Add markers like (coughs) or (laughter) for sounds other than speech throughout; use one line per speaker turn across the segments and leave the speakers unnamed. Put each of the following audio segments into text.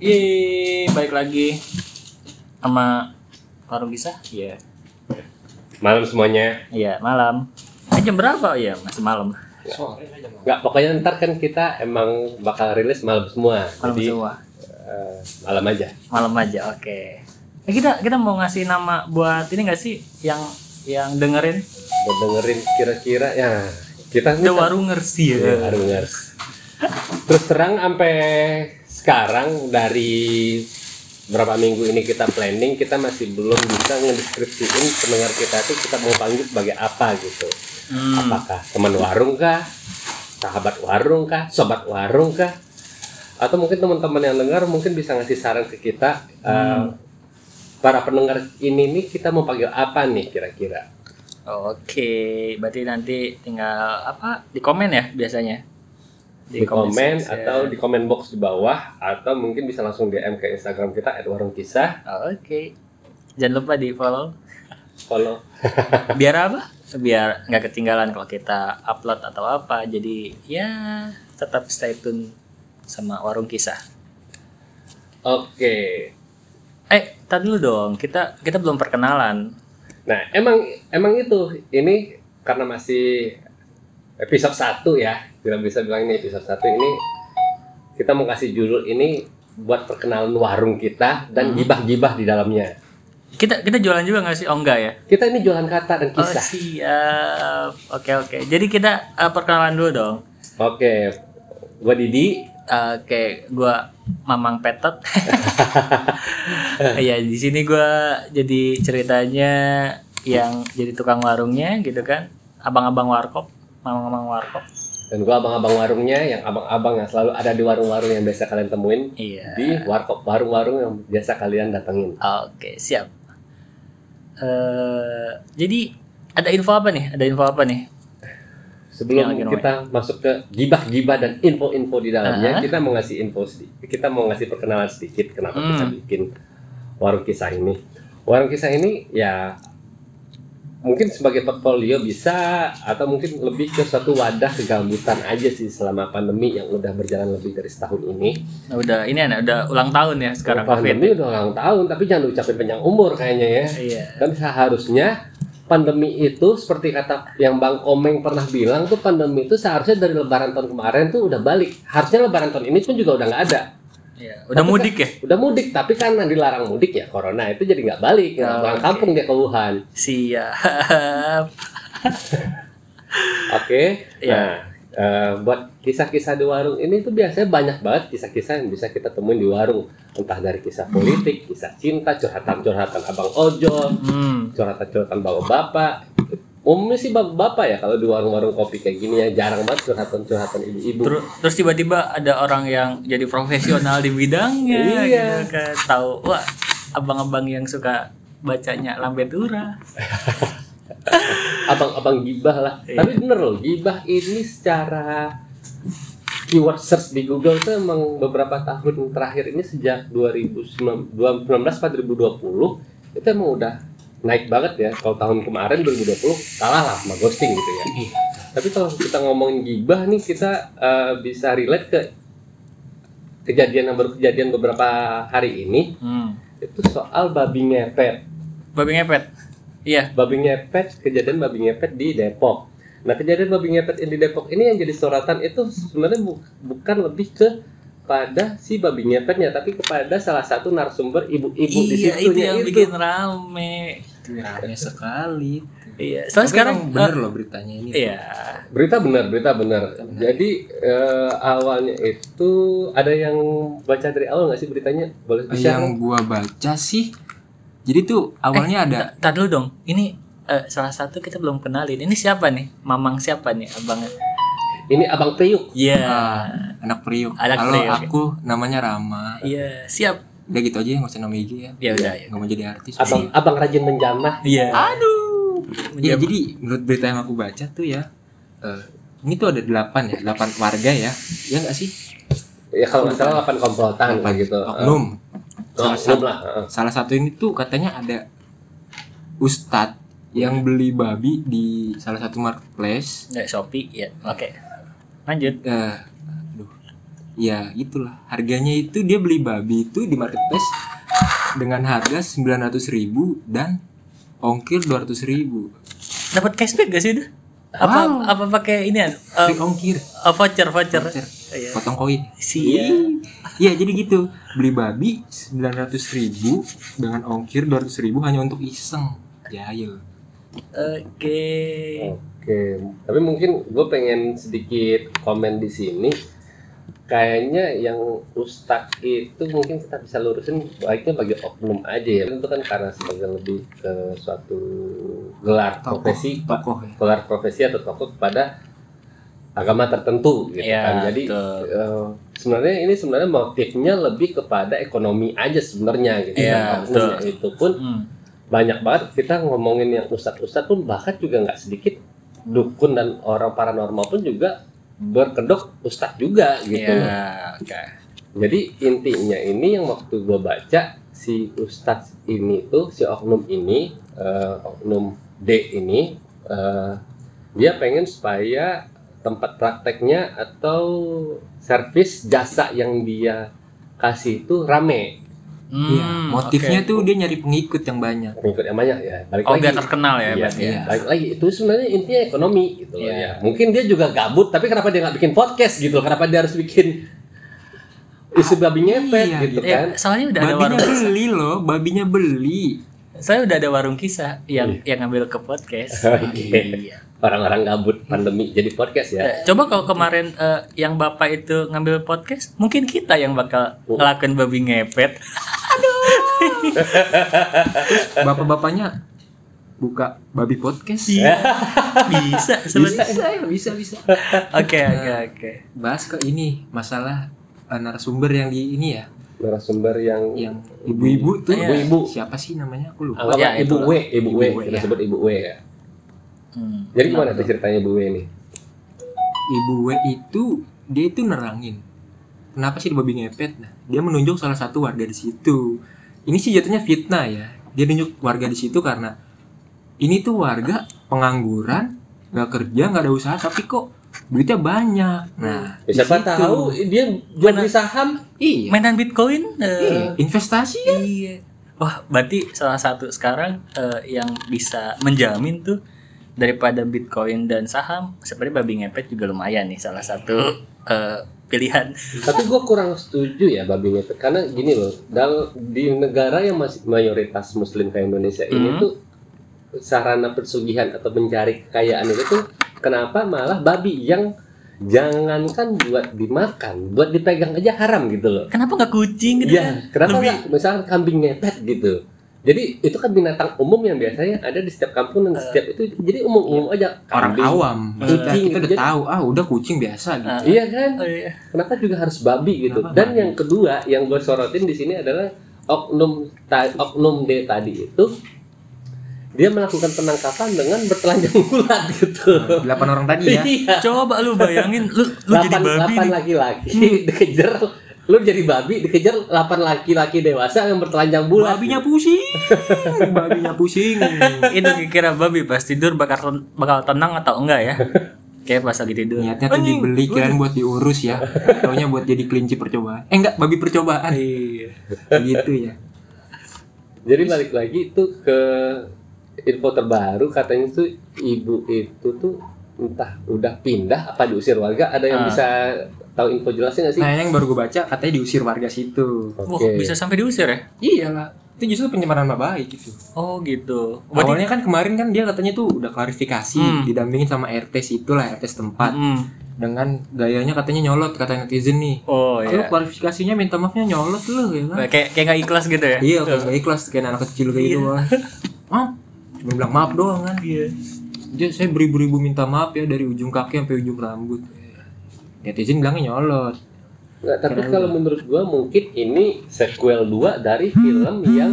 Yeay, balik lagi sama Warung Kisah. Iya.
Malam semuanya.
Iya, malam. Eh, jam berapa? Iya, masih malam.
Sore aja mau.
Enggak, pokoknya ntar kan kita emang bakal rilis malam semua.
Malam
Jadi
semua.
eh, malam aja.
Malam aja, oke. Eh, kita kita mau ngasih nama buat ini nggak sih yang yang dengerin
Buat dengerin kira-kira ya kita
The Warungers
Ya,
ya.
Warungers. Terus terang sampai sekarang dari berapa minggu ini kita planning kita masih belum bisa ngedeskripsiin pendengar kita itu kita mau panggil sebagai apa gitu.
Hmm.
Apakah teman warung kah? Sahabat warung kah? Sobat warung kah? Atau mungkin teman-teman yang dengar mungkin bisa ngasih saran ke kita eh,
Hmm.
para pendengar ini nih kita mau panggil apa nih kira-kira?
Oke, berarti nanti tinggal apa? Di komen ya biasanya.
Di, komen
section.
atau di komen box di bawah atau mungkin bisa langsung DM ke Instagram kita @warungkisah.
Oke. Jangan lupa di-follow.
Follow.
biar apa biar nggak ketinggalan kalau kita upload atau apa jadi ya tetap stay tune sama warung kisah
Oke.
eh tadi dulu dong kita kita belum perkenalan
Nah, emang emang itu ini karena masih episode 1 ya. Kita bisa bilang ini episode 1 ini kita mau kasih judul ini buat perkenalan warung kita
Hmm.
dan gibah-gibah di dalamnya.
kita kita jualan juga nggak sih oh enggak ya
Kita ini jualan kata dan
oh
kisah.
siap oke oke jadi kita eh, perkenalan dulu dong
Oke. Gua Didi.
Oke, gua Mamang Petot. Iya, di sini gua jadi ceritanya yang jadi tukang warungnya gitu kan. Abang-abang warkop, mamang-mamang warkop.
Dan gua abang-abang warungnya yang abang-abang yang selalu ada di warung-warung yang biasa kalian temuin
Iya.
di warkop warung-warung yang biasa kalian datengin.
Oke, siap. eh jadi ada info apa nih? Ada info apa nih?
Sebelum
Yang lagi
kita masuk ke gibah-gibah dan info-info di dalamnya,
Aha.
kita mau ngasih info sedikit. Kita mau ngasih perkenalan sedikit kenapa
Hmm.
kita bikin warung kisah ini. Warung kisah ini ya mungkin sebagai portfolio bisa atau mungkin lebih ke suatu wadah kegambutan aja sih selama pandemi yang udah berjalan lebih dari setahun ini.
Nah, Udah ini anak udah ulang tahun ya sekarang
pandemi
Covid.
udah ulang tahun, tapi jangan ucapin panjang umur kayaknya ya.
Iya.
Dan seharusnya pandemi itu seperti kata yang Bang Komeng pernah bilang tuh pandemi itu seharusnya dari lebaran tahun kemarin tuh udah balik. Harusnya lebaran tahun ini pun juga udah nggak ada.
Iya, udah
Tapi kan-
mudik ya?
Udah mudik tapi karena dilarang mudik ya corona itu jadi nggak balik. Nggak
Oh,
pulang
oke.
kampung dia ke Wuhan.
Siap.
Oke.
Iya.
Nah, eh, buat kisah-kisah di warung ini tuh biasanya banyak banget kisah-kisah yang bisa kita temuin di warung. Entah dari kisah politik, kisah cinta, curhatan-curhatan abang ojol,
Hmm.
curhatan-curhatan bapak-bapak umumnya sih bapak-bapak ya kalau di warung-warung kopi kayak gini ya jarang banget curhatan-curhatan ibu-ibu
Terus, terus tiba-tiba ada orang yang jadi profesional di bidangnya
Iya.
gitu kan. Tahu wah abang-abang yang suka bacanya Lambet Ura.
abang-abang gibah lah
Iya.
tapi bener loh gibah ini secara keyword search di Google tuh emang beberapa tahun terakhir ini sejak 2019 2020 itu emang udah naik banget ya kalau tahun kemarin 2020 kalah lah sama ghosting gitu ya
Iya.
tapi kalau kita ngomongin gibah nih kita eh, bisa relate ke kejadian yang baru kejadian beberapa hari ini
Hmm.
itu soal babi ngepet
Babi ngepet. Iya.
babi ngepet kejadian babi ngepet di Depok nah kejadian babi ngepet yang di Depok ini yang jadi sorotan itu sebenarnya bu- bukan lebih ke pada si babi ngepetnya tapi kepada salah satu narasumber ibu-ibu di
iya,
situ
itu yang bikin rame.
Rame sekali.
Iya.
Tapi
Soalnya sekarang
emang bener loh beritanya ini.
Iya.
Berita benar, berita benar.
Berita benar.
Jadi eh, awalnya itu ada yang baca dari awal nggak sih beritanya? Boleh
Eh,
bisa?
Yang gua baca sih. Jadi tuh
Eh,
awalnya ada
Tar dulu dong, ini eh, salah satu kita belum kenalin. Ini siapa nih? Mamang siapa nih abangnya?
Ini Abang Priuk.
Iya.
ah, anak priuk.
Anak
Halo,
priuk, ya.
aku namanya Rama.
Iya, siap.
Udah gitu aja nggak usah nama IG ya.
Ya udah. ya.
Nggak mau jadi artis.
Abang Abang rajin menjamah.
Iya.
Aduh. Ya
Menjawab.
jadi menurut berita yang aku baca tuh ya. eh, ini tuh ada delapan ya, delapan warga ya. Ya nggak sih?
Ya kalau nggak salah 8 komplotan
Delapan.
gitu.
Oknum.
Eh, oknum lah. eh.
Salah satu ini tuh katanya ada ustadz yang beli babi di salah satu marketplace.
Ya, Shopee, ya. Oke. Lanjut.
Eh, aduh. ya itulah harganya itu dia beli babi itu di marketplace dengan harga 900.000 dan ongkir 200.000 ribu
Dapat cashback gak sih udah? Apa
Wow.
apa pakai ini Eh,
ongkir
voucher voucher. ya.
Voucher.
Iya.
potong koin
Sia.
Iya jadi gitu beli babi 900.000 dengan ongkir 200.000 hanya untuk iseng jahil
Oke.
Oke, tapi mungkin gue pengen sedikit komen di sini. Kayaknya yang Ustadz itu mungkin kita bisa lurusin baiknya bagi oknum aja ya. Itu kan karena sebagai lebih ke suatu gelar
Tokoh.
profesi, Pak.
tokoh ya
gelar profesi atau tokoh kepada agama tertentu gitu
Iya,
kan. Jadi
betul.
eh, sebenarnya ini sebenarnya motifnya lebih kepada ekonomi aja sebenarnya gitu.
Iya,
kan. Oknumnya
betul.
Itu pun
Hmm.
banyak banget kita ngomongin yang ustadz-ustadz pun bahkan juga nggak sedikit dukun dan orang paranormal pun juga berkedok ustadz juga gitu.
Iya, oke.
Jadi intinya ini yang waktu gue baca si ustadz ini tuh si oknum ini eh, oknum D ini eh, dia pengen supaya tempat prakteknya atau servis jasa yang dia kasih itu rame
Iya,
Hmm,
motifnya
oke.
tuh dia nyari pengikut yang banyak
pengikut yang banyak ya balik
Oh, biar
lagi
terkenal ya,
Iya,
berarti ya.
iya.
Lagi, lagi itu sebenarnya intinya ekonomi gitu loh
Iya.
ya. Mungkin dia juga gabut, tapi kenapa dia nggak bikin podcast gitu loh? Kenapa dia harus bikin isu babi ngepet
iya,
gitu
Eh,
kan?
soalnya udah ada
babinya
warung
beli loh babinya beli
saya udah ada warung kisah yang
Iya.
yang ngambil ke
(laughs)
podcast. iya.
Orang-orang gabut pandemi jadi podcast ya.
Iya.
Eh, Coba kalau kemarin eh, yang bapak itu ngambil podcast, mungkin kita yang bakal
Oh.
ngelakuin babi ngepet.
bapak-bapaknya buka babi podcast
Iya.
(laughs) Bisa
bisa
sebenarnya.
ya bisa bisa
Oke oke
Nah.
oke.
bahas ke ini masalah eh, narasumber yang di ini ya
Narasumber yang,
yang ibu-ibu tuh
Iya.
Ibu-ibu.
siapa sih namanya aku lupa
anggap
Ya,
ibu
itulah.
W, ibu,
Ibu
W,
W,
kita
ya.
sebut ibu W ya.
Hmm.
Jadi gimana tuh ceritanya ibu W ini?
ibu W itu dia itu nerangin kenapa sih ada babi ngepet nah dia menunjuk salah satu warga di situ ini sih jatuhnya fitnah ya dia nunjuk warga di situ karena ini tuh warga pengangguran nggak kerja nggak ada usaha tapi kok duitnya banyak nah
Ya, siapa
di situ.
tahu dia jual beli saham?
iya,
Mainan Bitcoin.
iya.
eh,
investasi ya
Iya. Wah, berarti salah satu sekarang eh, yang bisa menjamin tuh daripada Bitcoin dan saham, sebenarnya babi ngepet juga lumayan nih salah satu eh, pilihan.
Tapi gue kurang setuju ya babi ngepet karena gini loh, dal di negara yang masih mayoritas muslim kayak Indonesia ini
Hmm.
tuh sarana persugihan atau mencari kekayaan itu tuh kenapa malah babi yang jangankan buat dimakan, buat dipegang aja haram gitu loh.
Kenapa nggak kucing gitu kan?
Iya, kenapa
Lebih-
nggak misalkan kambing ngepet gitu. Jadi itu kan binatang umum yang biasanya ada di setiap kampung dan di setiap itu
Iya.
jadi umum-umum aja.
orang
Kambing.
Iya. awam kita,
Kucing,
kita udah
jadi-
tahu ah udah kucing biasa gitu
Eh,
Iya kan?
oh iya.
kenapa juga harus babi gitu
Kenapa
dan
babi?
yang kedua yang gue sorotin di sini adalah oknum ta- oknum D tadi itu dia melakukan penangkapan dengan bertelanjang bulat gitu
delapan orang tadi ya
iya
Coba lu bayangin lu lu jadi babi
delapan delapan
nih. Hmm.
laki-laki dikejar lu jadi babi dikejar delapan laki-laki dewasa yang bertelanjang bulat
babinya pusing babinya pusing
Itu kira-kira babi pas tidur bakal ten- bakal tenang atau enggak
(laughs)
ya? Kayak pas lagi tidur. Oh,
Niatnya tuh
Anjing,
dibeli kirain buat diurus ya. Taunya buat jadi kelinci percobaan. Eh enggak, babi percobaan.
Iya.
Gitu ya.
Jadi balik lagi itu ke info terbaru katanya tuh ibu itu tuh entah udah pindah apa diusir warga ada yang
Ah.
bisa tahu info jelasnya nggak sih?
Nah, yang baru gue baca katanya diusir warga situ.
Wah, bisa sampai diusir ya?
Iyalah, Iya itu justru pencemaran nama baik gitu.
Oh gitu. Berarti
Awalnya kan kemarin kan dia katanya tuh udah klarifikasi,
Hmm.
didampingin sama RT situ lah, RT setempat.
Hmm.
Dengan gayanya katanya nyolot kata netizen nih.
Oh
Lu
iya.
klarifikasinya minta maafnya nyolot lu ya kan.
Kayak kayak nggak ikhlas gitu ya?
Iya, kayak gak ikhlas kayak anak kecil kayak gitu.
(laughs)
Bang. Hah? Cuma bilang maaf doang kan.
Iya.
dia saya beribu-ribu minta maaf ya dari ujung kaki sampai ujung rambut netizen bilangnya nyolot
Nggak, tapi kalau menurut gua mungkin ini sequel 2 dari film
Hmm.
yang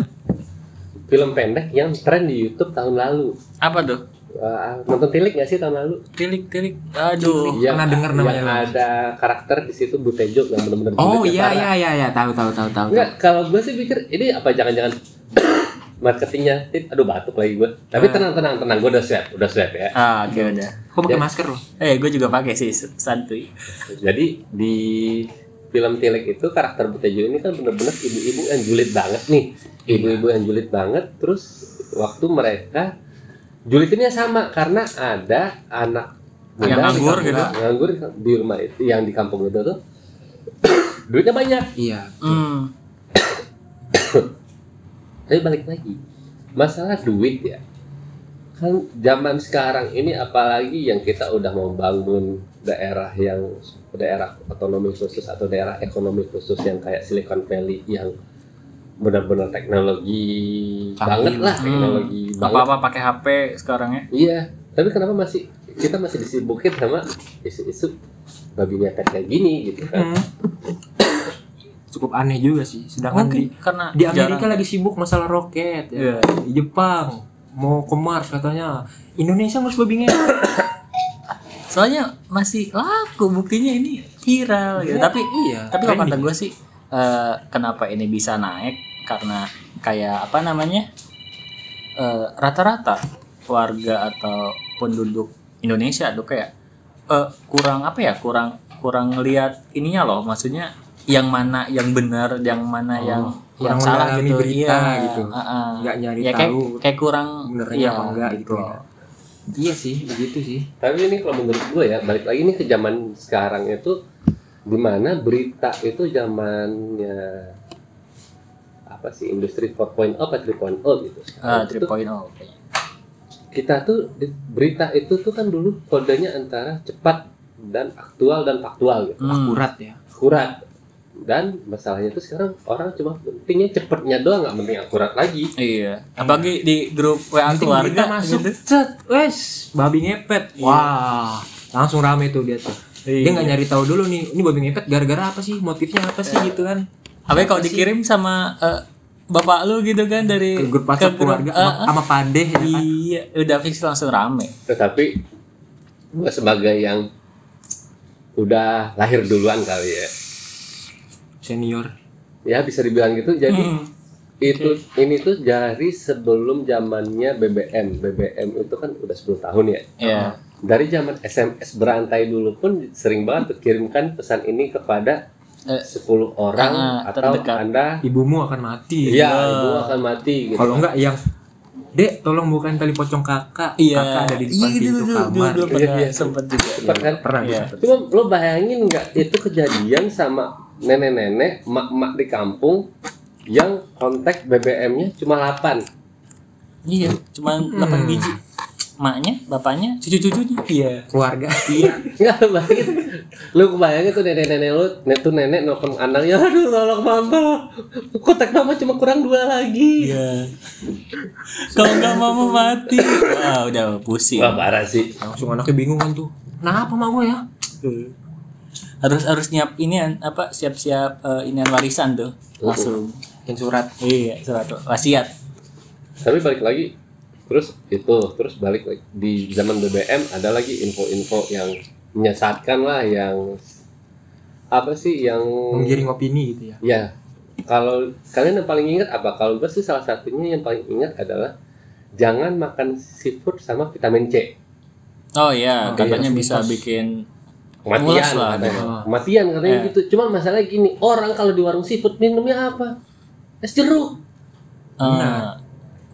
film pendek yang tren di YouTube tahun lalu.
Apa tuh?
Uh, nonton Tilik nggak sih tahun lalu?
Tilik tilik. Aduh.
Yang-
Oh, pernah dengar namanya
yang
lama.
ada karakter di situ Butejo yang benar-benar
oh iya iya iya iya tahu tahu tahu tahu
Enggak, kalau gue sih pikir ini apa jangan-jangan (coughs) marketingnya Tit, aduh batuk lagi gue. Tapi
Ah.
tenang tenang tenang, gue udah siap, udah siap ya.
Ah, oke
Hmm.
udah.
kok pakai masker loh
Eh, gue juga pakai sih santuy.
Jadi di film Tilek itu karakter Butejo ini kan bener-bener ibu-ibu yang julid banget nih
Iya.
ibu-ibu yang julid banget terus waktu mereka julidnya sama karena ada anak
Yang
muda di
nganggur
kampung-
gitu.
nganggur di rumah itu yang di kampung itu tuh (coughs) duitnya banyak
Iya.
Hmm.
tapi balik lagi masalah duit ya kan zaman sekarang ini apalagi yang kita udah mau bangun daerah yang daerah otonomi khusus atau daerah ekonomi khusus yang kayak Silicon Valley yang benar-benar teknologi
Canggih
banget lah
lah.
teknologi banget
Apa-apa pakai HP sekarang ya.
iya tapi kenapa masih kita masih disibukin sama isu-isu babi ngepet kayak gini gitu kan
Hmm. Cukup aneh juga sih. Sedangkan di,
Mungkin karena
di Amerika
jarang-
lagi sibuk masalah roket,
Iya.
ya. di Jepang mau ke Mars katanya. Indonesia harus babi
(coughs)
ngepet.
Soalnya masih laku buktinya ini viral gitu. Tapi
iya.
tapi kalau
trendy.
kata gue sih eh, kenapa ini bisa naik karena kayak apa namanya eh, rata-rata warga atau penduduk Indonesia tuh kayak eh, kurang apa ya kurang kurang lihat ininya loh maksudnya yang mana yang benar yang mana
Oh,
yang yang
kurang
salah
mendalami
gitu
berita
Iya,
gitu.
heeh.
nggak nyari
ya kayak
tahu
kayak kurang
benernya
iya,
apa enggak gitu.
loh.
Iya sih, begitu sih.
Tapi ini kalau menurut gue ya, balik lagi nih ke zaman sekarang itu dimana berita itu zamannya apa sih industri 4.0 apa 3.0 gitu.
Eh, 3.0
Itu
kayaknya.
kita tuh di- berita itu tuh kan dulu kodenya antara cepat dan aktual dan faktual gitu.
Hmm.
Akurat ya.
Akurat. Dan masalahnya tuh sekarang orang cuma pentingnya cepetnya doang nggak penting akurat lagi.
Iya, apalagi di grup WA
Nanti
keluarga
berita masuk,
gitu. Iya.
cet, wes, babi ngepet. Wah, langsung rame tuh dia tuh. Dia nggak nyari tahu dulu nih, ini babi ngepet gara-gara apa sih? Motifnya apa sih gitu kan?
Apa ya, kalau dikirim sama eh, bapak lu gitu kan dari
Ke grup
ke
WhatsApp
grup,
keluarga
eh,
sama- sama padeh ya kan?
iya, udah fix langsung rame.
Tetapi gue sebagai yang udah lahir duluan kali ya,
Senior.
ya bisa dibilang gitu. Jadi
Hmm.
itu ini tuh dari sebelum zamannya BBM BBM itu kan udah 10 tahun ya
Iya.
dari zaman SMS berantai dulu pun sering banget tuh kirimkan pesan ini kepada
Eh,
10 orang
ah,
atau
terdekat.
anda
Ibumu akan mati.
iya ibu akan mati gitu
Kalau enggak yang Dek, tolong bukain tali pocong kakak.
Iya.
Oh, Kakak ada di depan
Iya,
pintu
dulu, dulu,
kamar.
dulu
Iya,
pernah
iya.
sempet juga.
Cepat kan?
Pernah
Iya.
bisa.
cuma lo bayangin nggak itu kejadian sama nenek-nenek mak-mak di kampung yang kontak BBM-nya cuma 8
Iya, cuman
Hmm.
8 biji. Maknya, bapaknya, cucu-cucunya. Iya.
Keluarga.
Enggak lu bayangin. Lu kebayangin tuh nenek-nenek lu, net tuh nenek nelfon anaknya, aduh tolong mama. Kotak mama cuma kurang dua lagi.
Iya. Kalau nggak mau mati. Wah, udah pusing.
Wah, parah sih.
Langsung anaknya bingung kan tuh. Kenapa mak gue ya?
Iya. harus harus nyiap ini apa siap-siap eh, inian warisan tuh
Oh.
langsung
Bikin surat.
iya surat wasiat
Tapi balik lagi terus itu, terus balik lagi di zaman BBM ada lagi info-info yang menyesatkan lah yang apa sih yang
Menggiring opini gitu ya.
ya kalau kalian yang paling ingat apa? Kalau gue sih salah satunya yang paling ingat adalah jangan makan seafood sama vitamin C.
oh iya
Oh,
katanya
iya,
bisa
mitos.
bikin
kematian
Mulas lah, gitu.
katanya.
ada.
Kematian katanya
Eh.
gitu. Cuman masalah gini, orang kalau di warung seafood minumnya apa? Es jeruk.
eh,
Benar.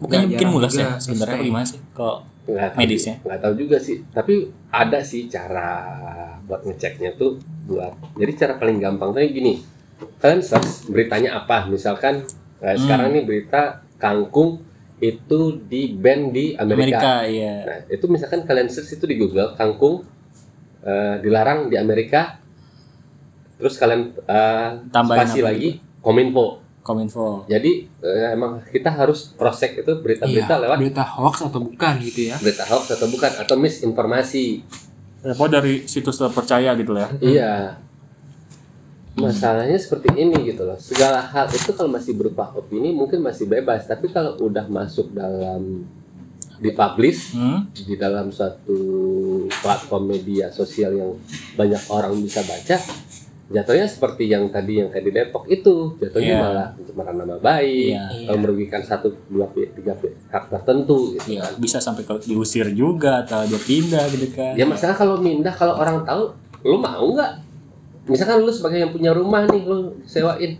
bukannya
Nah, Nggak
bikin
jarang
mulas
juga
ya sebenarnya
ST.
gimana sih kok
Enggak
Medisnya.
Nggak tahu juga sih, tapi ada sih cara buat ngeceknya tuh buat. Jadi cara paling gampang tuh gini. Kalian search beritanya apa? Misalkan eh,
Hmm.
sekarang nih berita kangkung itu di ban di
Amerika,
Amerika.
iya
Nah, itu misalkan kalian search itu di Google kangkung eh, dilarang di Amerika. Terus kalian eh,
tambahin
spasi
apa gitu?
lagi kominfo.
kominfo
Jadi eh, emang kita harus cross check itu
Iya.
berita-berita lewat
berita hoax atau bukan gitu ya.
berita hoax atau bukan atau misinformasi.
repot dari situs terpercaya gitu ya
Iya. Masalahnya seperti ini gitu loh. Segala hal itu kalau masih berupa opini mungkin masih bebas, tapi kalau udah masuk dalam dipublish
hmm?
di dalam suatu platform media sosial yang banyak orang bisa baca, jatuhnya seperti yang tadi yang tadi Depok itu, jatuhnya
Iya.
malah pencemaran nama baik.
iya
atau merugikan satu dua pi- tiga pi- hak tertentu gitu
Iya,
kan.
bisa sampai ke diusir juga atau dia pindah gitu kan
Iya, ya masalah kalau mindah kalau orang tahu lu mau nggak misalkan lu sebagai yang punya rumah nih lu sewain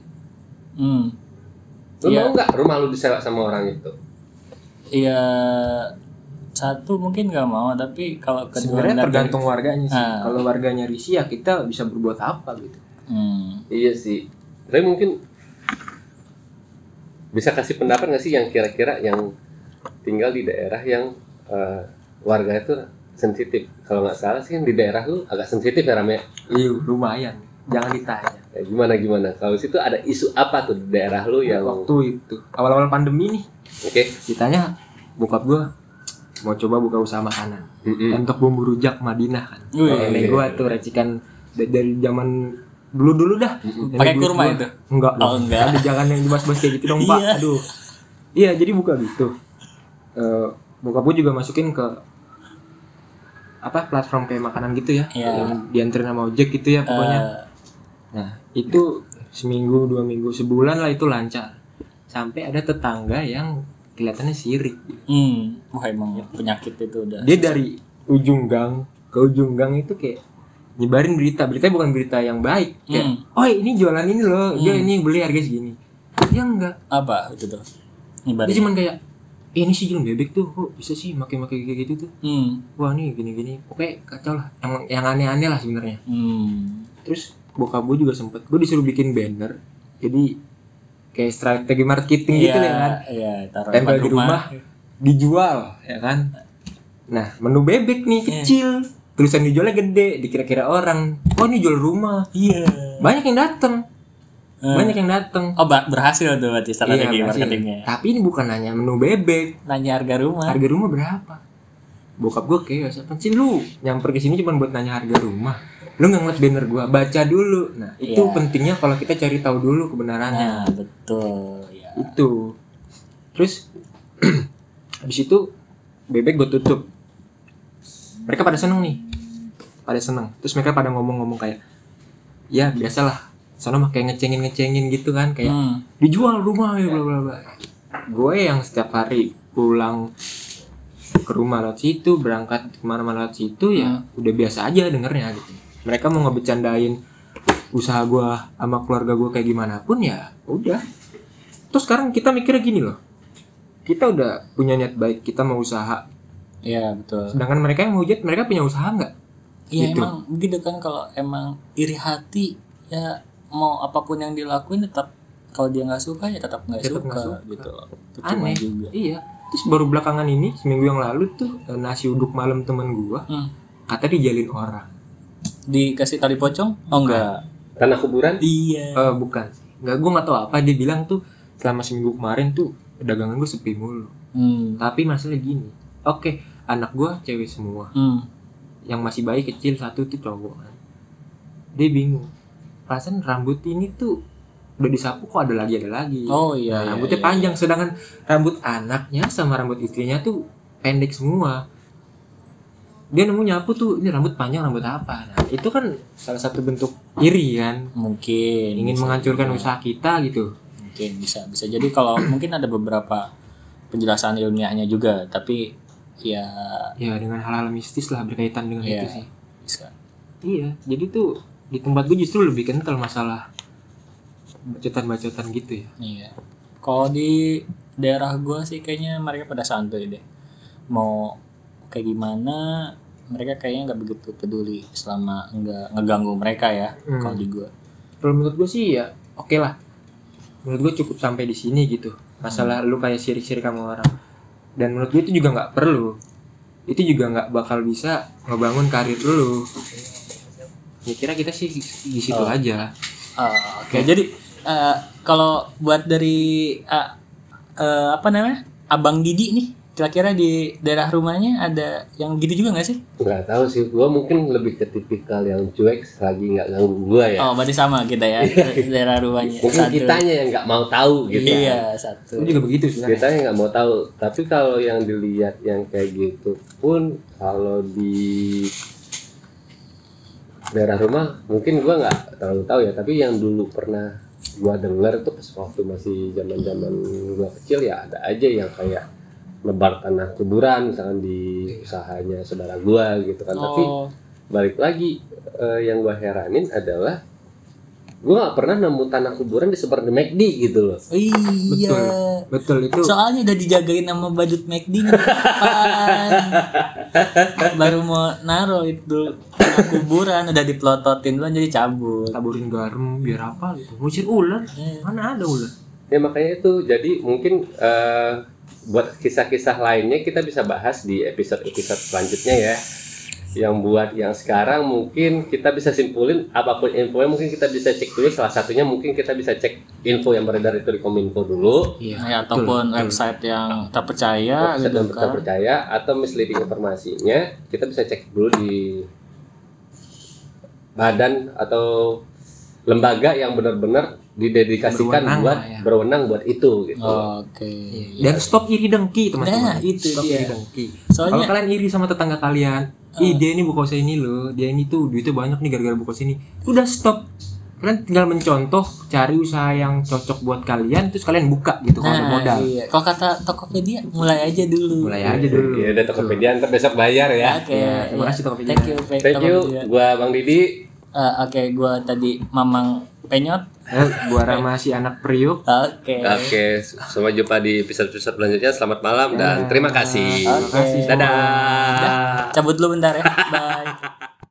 hmm.
lu
Iya.
mau nggak rumah lu disewa sama orang itu
Iya satu mungkin nggak mau tapi kalau kedua
Kan Sebenarnya
nggak-
tergantung warganya sih.
Ah.
Kalau warganya risih ya kita bisa berbuat apa gitu.
Hmm.
iya sih tapi mungkin bisa kasih pendapat nggak sih yang kira-kira yang tinggal di daerah yang eh, warga itu sensitif kalau nggak salah sih di daerah lu agak sensitif ya Rame
Iya, lumayan. Jangan ditanya.
Ya, gimana gimana kalau situ ada isu apa tuh di daerah lu
Iya.
yang oke
Waktu itu awal-awal pandemi nih ditanya bokap gua mau coba buka usaha makanan
Mm-mm.
untuk bumbu rujak Madinah kan.
Hmm. Wih.
Oh, Nenek gua tuh racikan da- dari zaman dulu dulu dah.
Hmm.
Nenek
Pakai
gua-
kurma
gua-
itu?
Enggak.
Oh,
dong.
enggak.
Aduh, jangan yang dibahas-bahas kayak gitu dong pak.
Iya.
Aduh. Iya jadi buka gitu. Eh bokap gua juga masukin ke apa platform kayak makanan gitu ya.
Iya.
Yang dianterin sama ojek gitu ya pokoknya.
Eh,
Nah, itu seminggu, dua minggu, sebulan lah itu lancar. Sampai ada tetangga yang kelihatannya sirik.
hmm. Wah emang penyakit itu udah.
Dia dari ujung gang ke ujung gang itu kayak nyebarin berita. Berita bukan berita yang baik. Kayak, "Oi, ini jualan ini loh. Dia ini beli harga segini." Dia enggak.
Apa itu tuh?
Dia
Iya.
Nyebarin.
cuman kayak, "Eh, "Ini sih jualan bebek tuh. Kok bisa sih makai-makai kayak gitu tuh?"
Hmm.
Wah, nih gini-gini. Oke, kacau lah. Yang yang aneh-aneh lah sebenarnya.
Hmm.
terus bokap gue juga sempet gue disuruh bikin banner jadi kayak strategi marketing gitu ya kan
Iya, taruh
tempel
depan
di rumah dijual ya kan nah menu bebek nih kecil tulisan dijualnya gede dikira-kira orang oh ini jual rumah
Iya.
banyak yang dateng
Hmm.
banyak yang dateng
Oh, ba- berhasil tuh berarti
Iya,
strategi
berhasil.
marketingnya.
tapi ini bukan hanya menu bebek
Nanya harga rumah.
harga rumah berapa bokap gue kayak apa sih lu nyamper ke sini cuma buat nanya harga rumah lu nggak ngeliat banner gua baca dulu nah itu
Iya.
pentingnya kalau kita cari tahu dulu
Nah,
kebenarannya
betul. Ya.
itu terus (clears throat) habis itu bebek gue tutup mereka pada seneng nih pada seneng terus mereka pada ngomong-ngomong kayak ya biasalah sono mah kayak ngecengin ngecengin gitu kan kayak
Hmm.
dijual rumah ya bla bla bla gue yang setiap hari pulang ke rumah lewat situ berangkat kemana-mana lewat situ ya udah biasa aja dengernya gitu mereka mau ngebecandain usaha gue sama keluarga gue kayak gimana pun ya udah terus sekarang kita mikirnya gini loh kita udah punya niat baik kita mau usaha
Iya, betul.
sedangkan mereka yang mau hujat mereka punya usaha nggak
Iya
Gitu.
emang gitu kan kalau emang iri hati ya mau apapun yang dilakuin tetap kalau dia nggak suka ya tetap nggak suka,
Tetap nggak suka.
gitu loh. Percuma
aneh
juga.
iya terus baru belakangan ini seminggu yang lalu tuh eh, nasi uduk malam temen gue
Hmm.
kata dijalin orang
Dikasih tali pocong? Oh enggak.
tanah kuburan
Iya.
Eh, bukan sih. Nggak, gue nggak tahu apa. Dia bilang tuh selama seminggu kemarin tuh dagangan gue sepi mulu.
Hmm.
Tapi masalah gini. Oke, anak gue cewek semua.
Hmm.
Yang masih bayi kecil satu tuh cowok. kan. Dia bingung. Perasaan rambut ini tuh udah disapu kok ada lagi ada lagi.
Oh iya.
Nah,
iya,
rambutnya
iya.
panjang sedangkan rambut anaknya sama rambut istrinya tuh pendek semua. Dia nemu nyapu tuh ini rambut panjang rambut apa. Nah, itu kan salah satu bentuk iri kan.
Mungkin
Ingin
bisa
menghancurkan
juga.
usaha kita gitu.
Mungkin bisa bisa. Jadi kalau mungkin ada beberapa penjelasan ilmiahnya juga tapi ya
ya dengan hal-hal mistis lah berkaitan dengan
Iya.
itu sih
bisa.
iya jadi tuh di tempat gue justru lebih kental masalah bacotan-bacotan gitu ya
Iya. Kalau di daerah gua sih kayaknya mereka pada santuy deh. Mau kayak gimana mereka kayaknya nggak begitu peduli selama nggak ngeganggu mereka ya
Hmm.
kalau di gua.
kalau menurut gue sih ya oke lah menurut gue cukup sampai di sini gitu masalah lu kayak sirik-sirik sama orang dan menurut gue itu juga nggak perlu itu juga nggak bakal bisa ngebangun karir lu ya kira kita sih di situ
Oh.
aja
Ah, Oke jadi eh, kalau buat dari eh, eh, apa namanya abang Didi nih kira-kira di daerah rumahnya ada yang gitu juga nggak sih?
nggak tahu sih gua mungkin lebih ke tipikal yang cuek selagi nggak ganggu gua ya
Oh berarti sama kita (laughs) ya di daerah rumahnya.
mungkin kitanya yang nggak mau tahu gitu
Iya satu.
lu juga begitu sebenarnya
Kita nggak mau tahu, tapi kalau yang dilihat yang kayak gitu pun kalau di daerah rumah mungkin gua nggak terlalu tahu ya, tapi yang dulu pernah gua dengar tuh pas waktu masih zaman-zaman gua kecil ya ada aja yang kayak lebar tanah kuburan misalkan di usahanya saudara gua gitu kan. Tapi
Oh
balik lagi eh, yang gua heranin adalah gue nggak pernah nemu tanah kuburan di seperti McD gitu loh
Iya.
betul itu
Soalnya udah dijagain sama badut McD nih, depan. Baru mau naro itu tanah kuburan udah dipelototin duluan jadi cabut.
taburin garam biar apa gitu ngusir ular
Iya.
mana ada ular
ya makanya itu jadi mungkin eh, buat kisah-kisah lainnya kita bisa bahas di episode-episode selanjutnya ya yang buat yang sekarang mungkin kita bisa simpulin apapun info mungkin kita bisa cek dulu salah satunya mungkin kita bisa cek info yang beredar itu di kominfo dulu
iya
Ya, ataupun
betul.
website yang terpercaya
website
gitu
yang kita
kan.
percaya atau misleading informasinya kita bisa cek dulu di badan atau lembaga yang benar-benar didedikasikan
Berwenang
buat
lah ya.
berwenang buat itu gitu
Oke.
dan stop iri dengki
Iya, Nah,
teman-teman
itu
stop
dia.
iri dengki kalau
Soalnya Ah.
kalian iri sama tetangga kalian ih dia ini buka usaha ini loh dia ini tuh duitnya banyak nih gara-gara buka usaha ini udah stop kalian tinggal mencontoh cari usaha yang cocok buat kalian terus kalian buka gitu kalau ada
nah,
modal
iya. Kalau kata Tokopedia mulai aja dulu.
mulai aja dulu
Ya udah Tokopedia ntar besok bayar ya.
Oke.
Iya, terima
iya.
kasih Tokopedia.
Thank you. Pe-
Thank you.
Tokopedia.
Gua Bang Didi.
Eh, Oke, gua tadi Mamang Penyot.
Eh, gua Rama si anak priuk
Oke.
Oke, sampai jumpa di episode-episode selanjutnya. Selamat malam dan terima kasih.
Oke.
Dadah.
Cabut dulu bentar ya. Bye.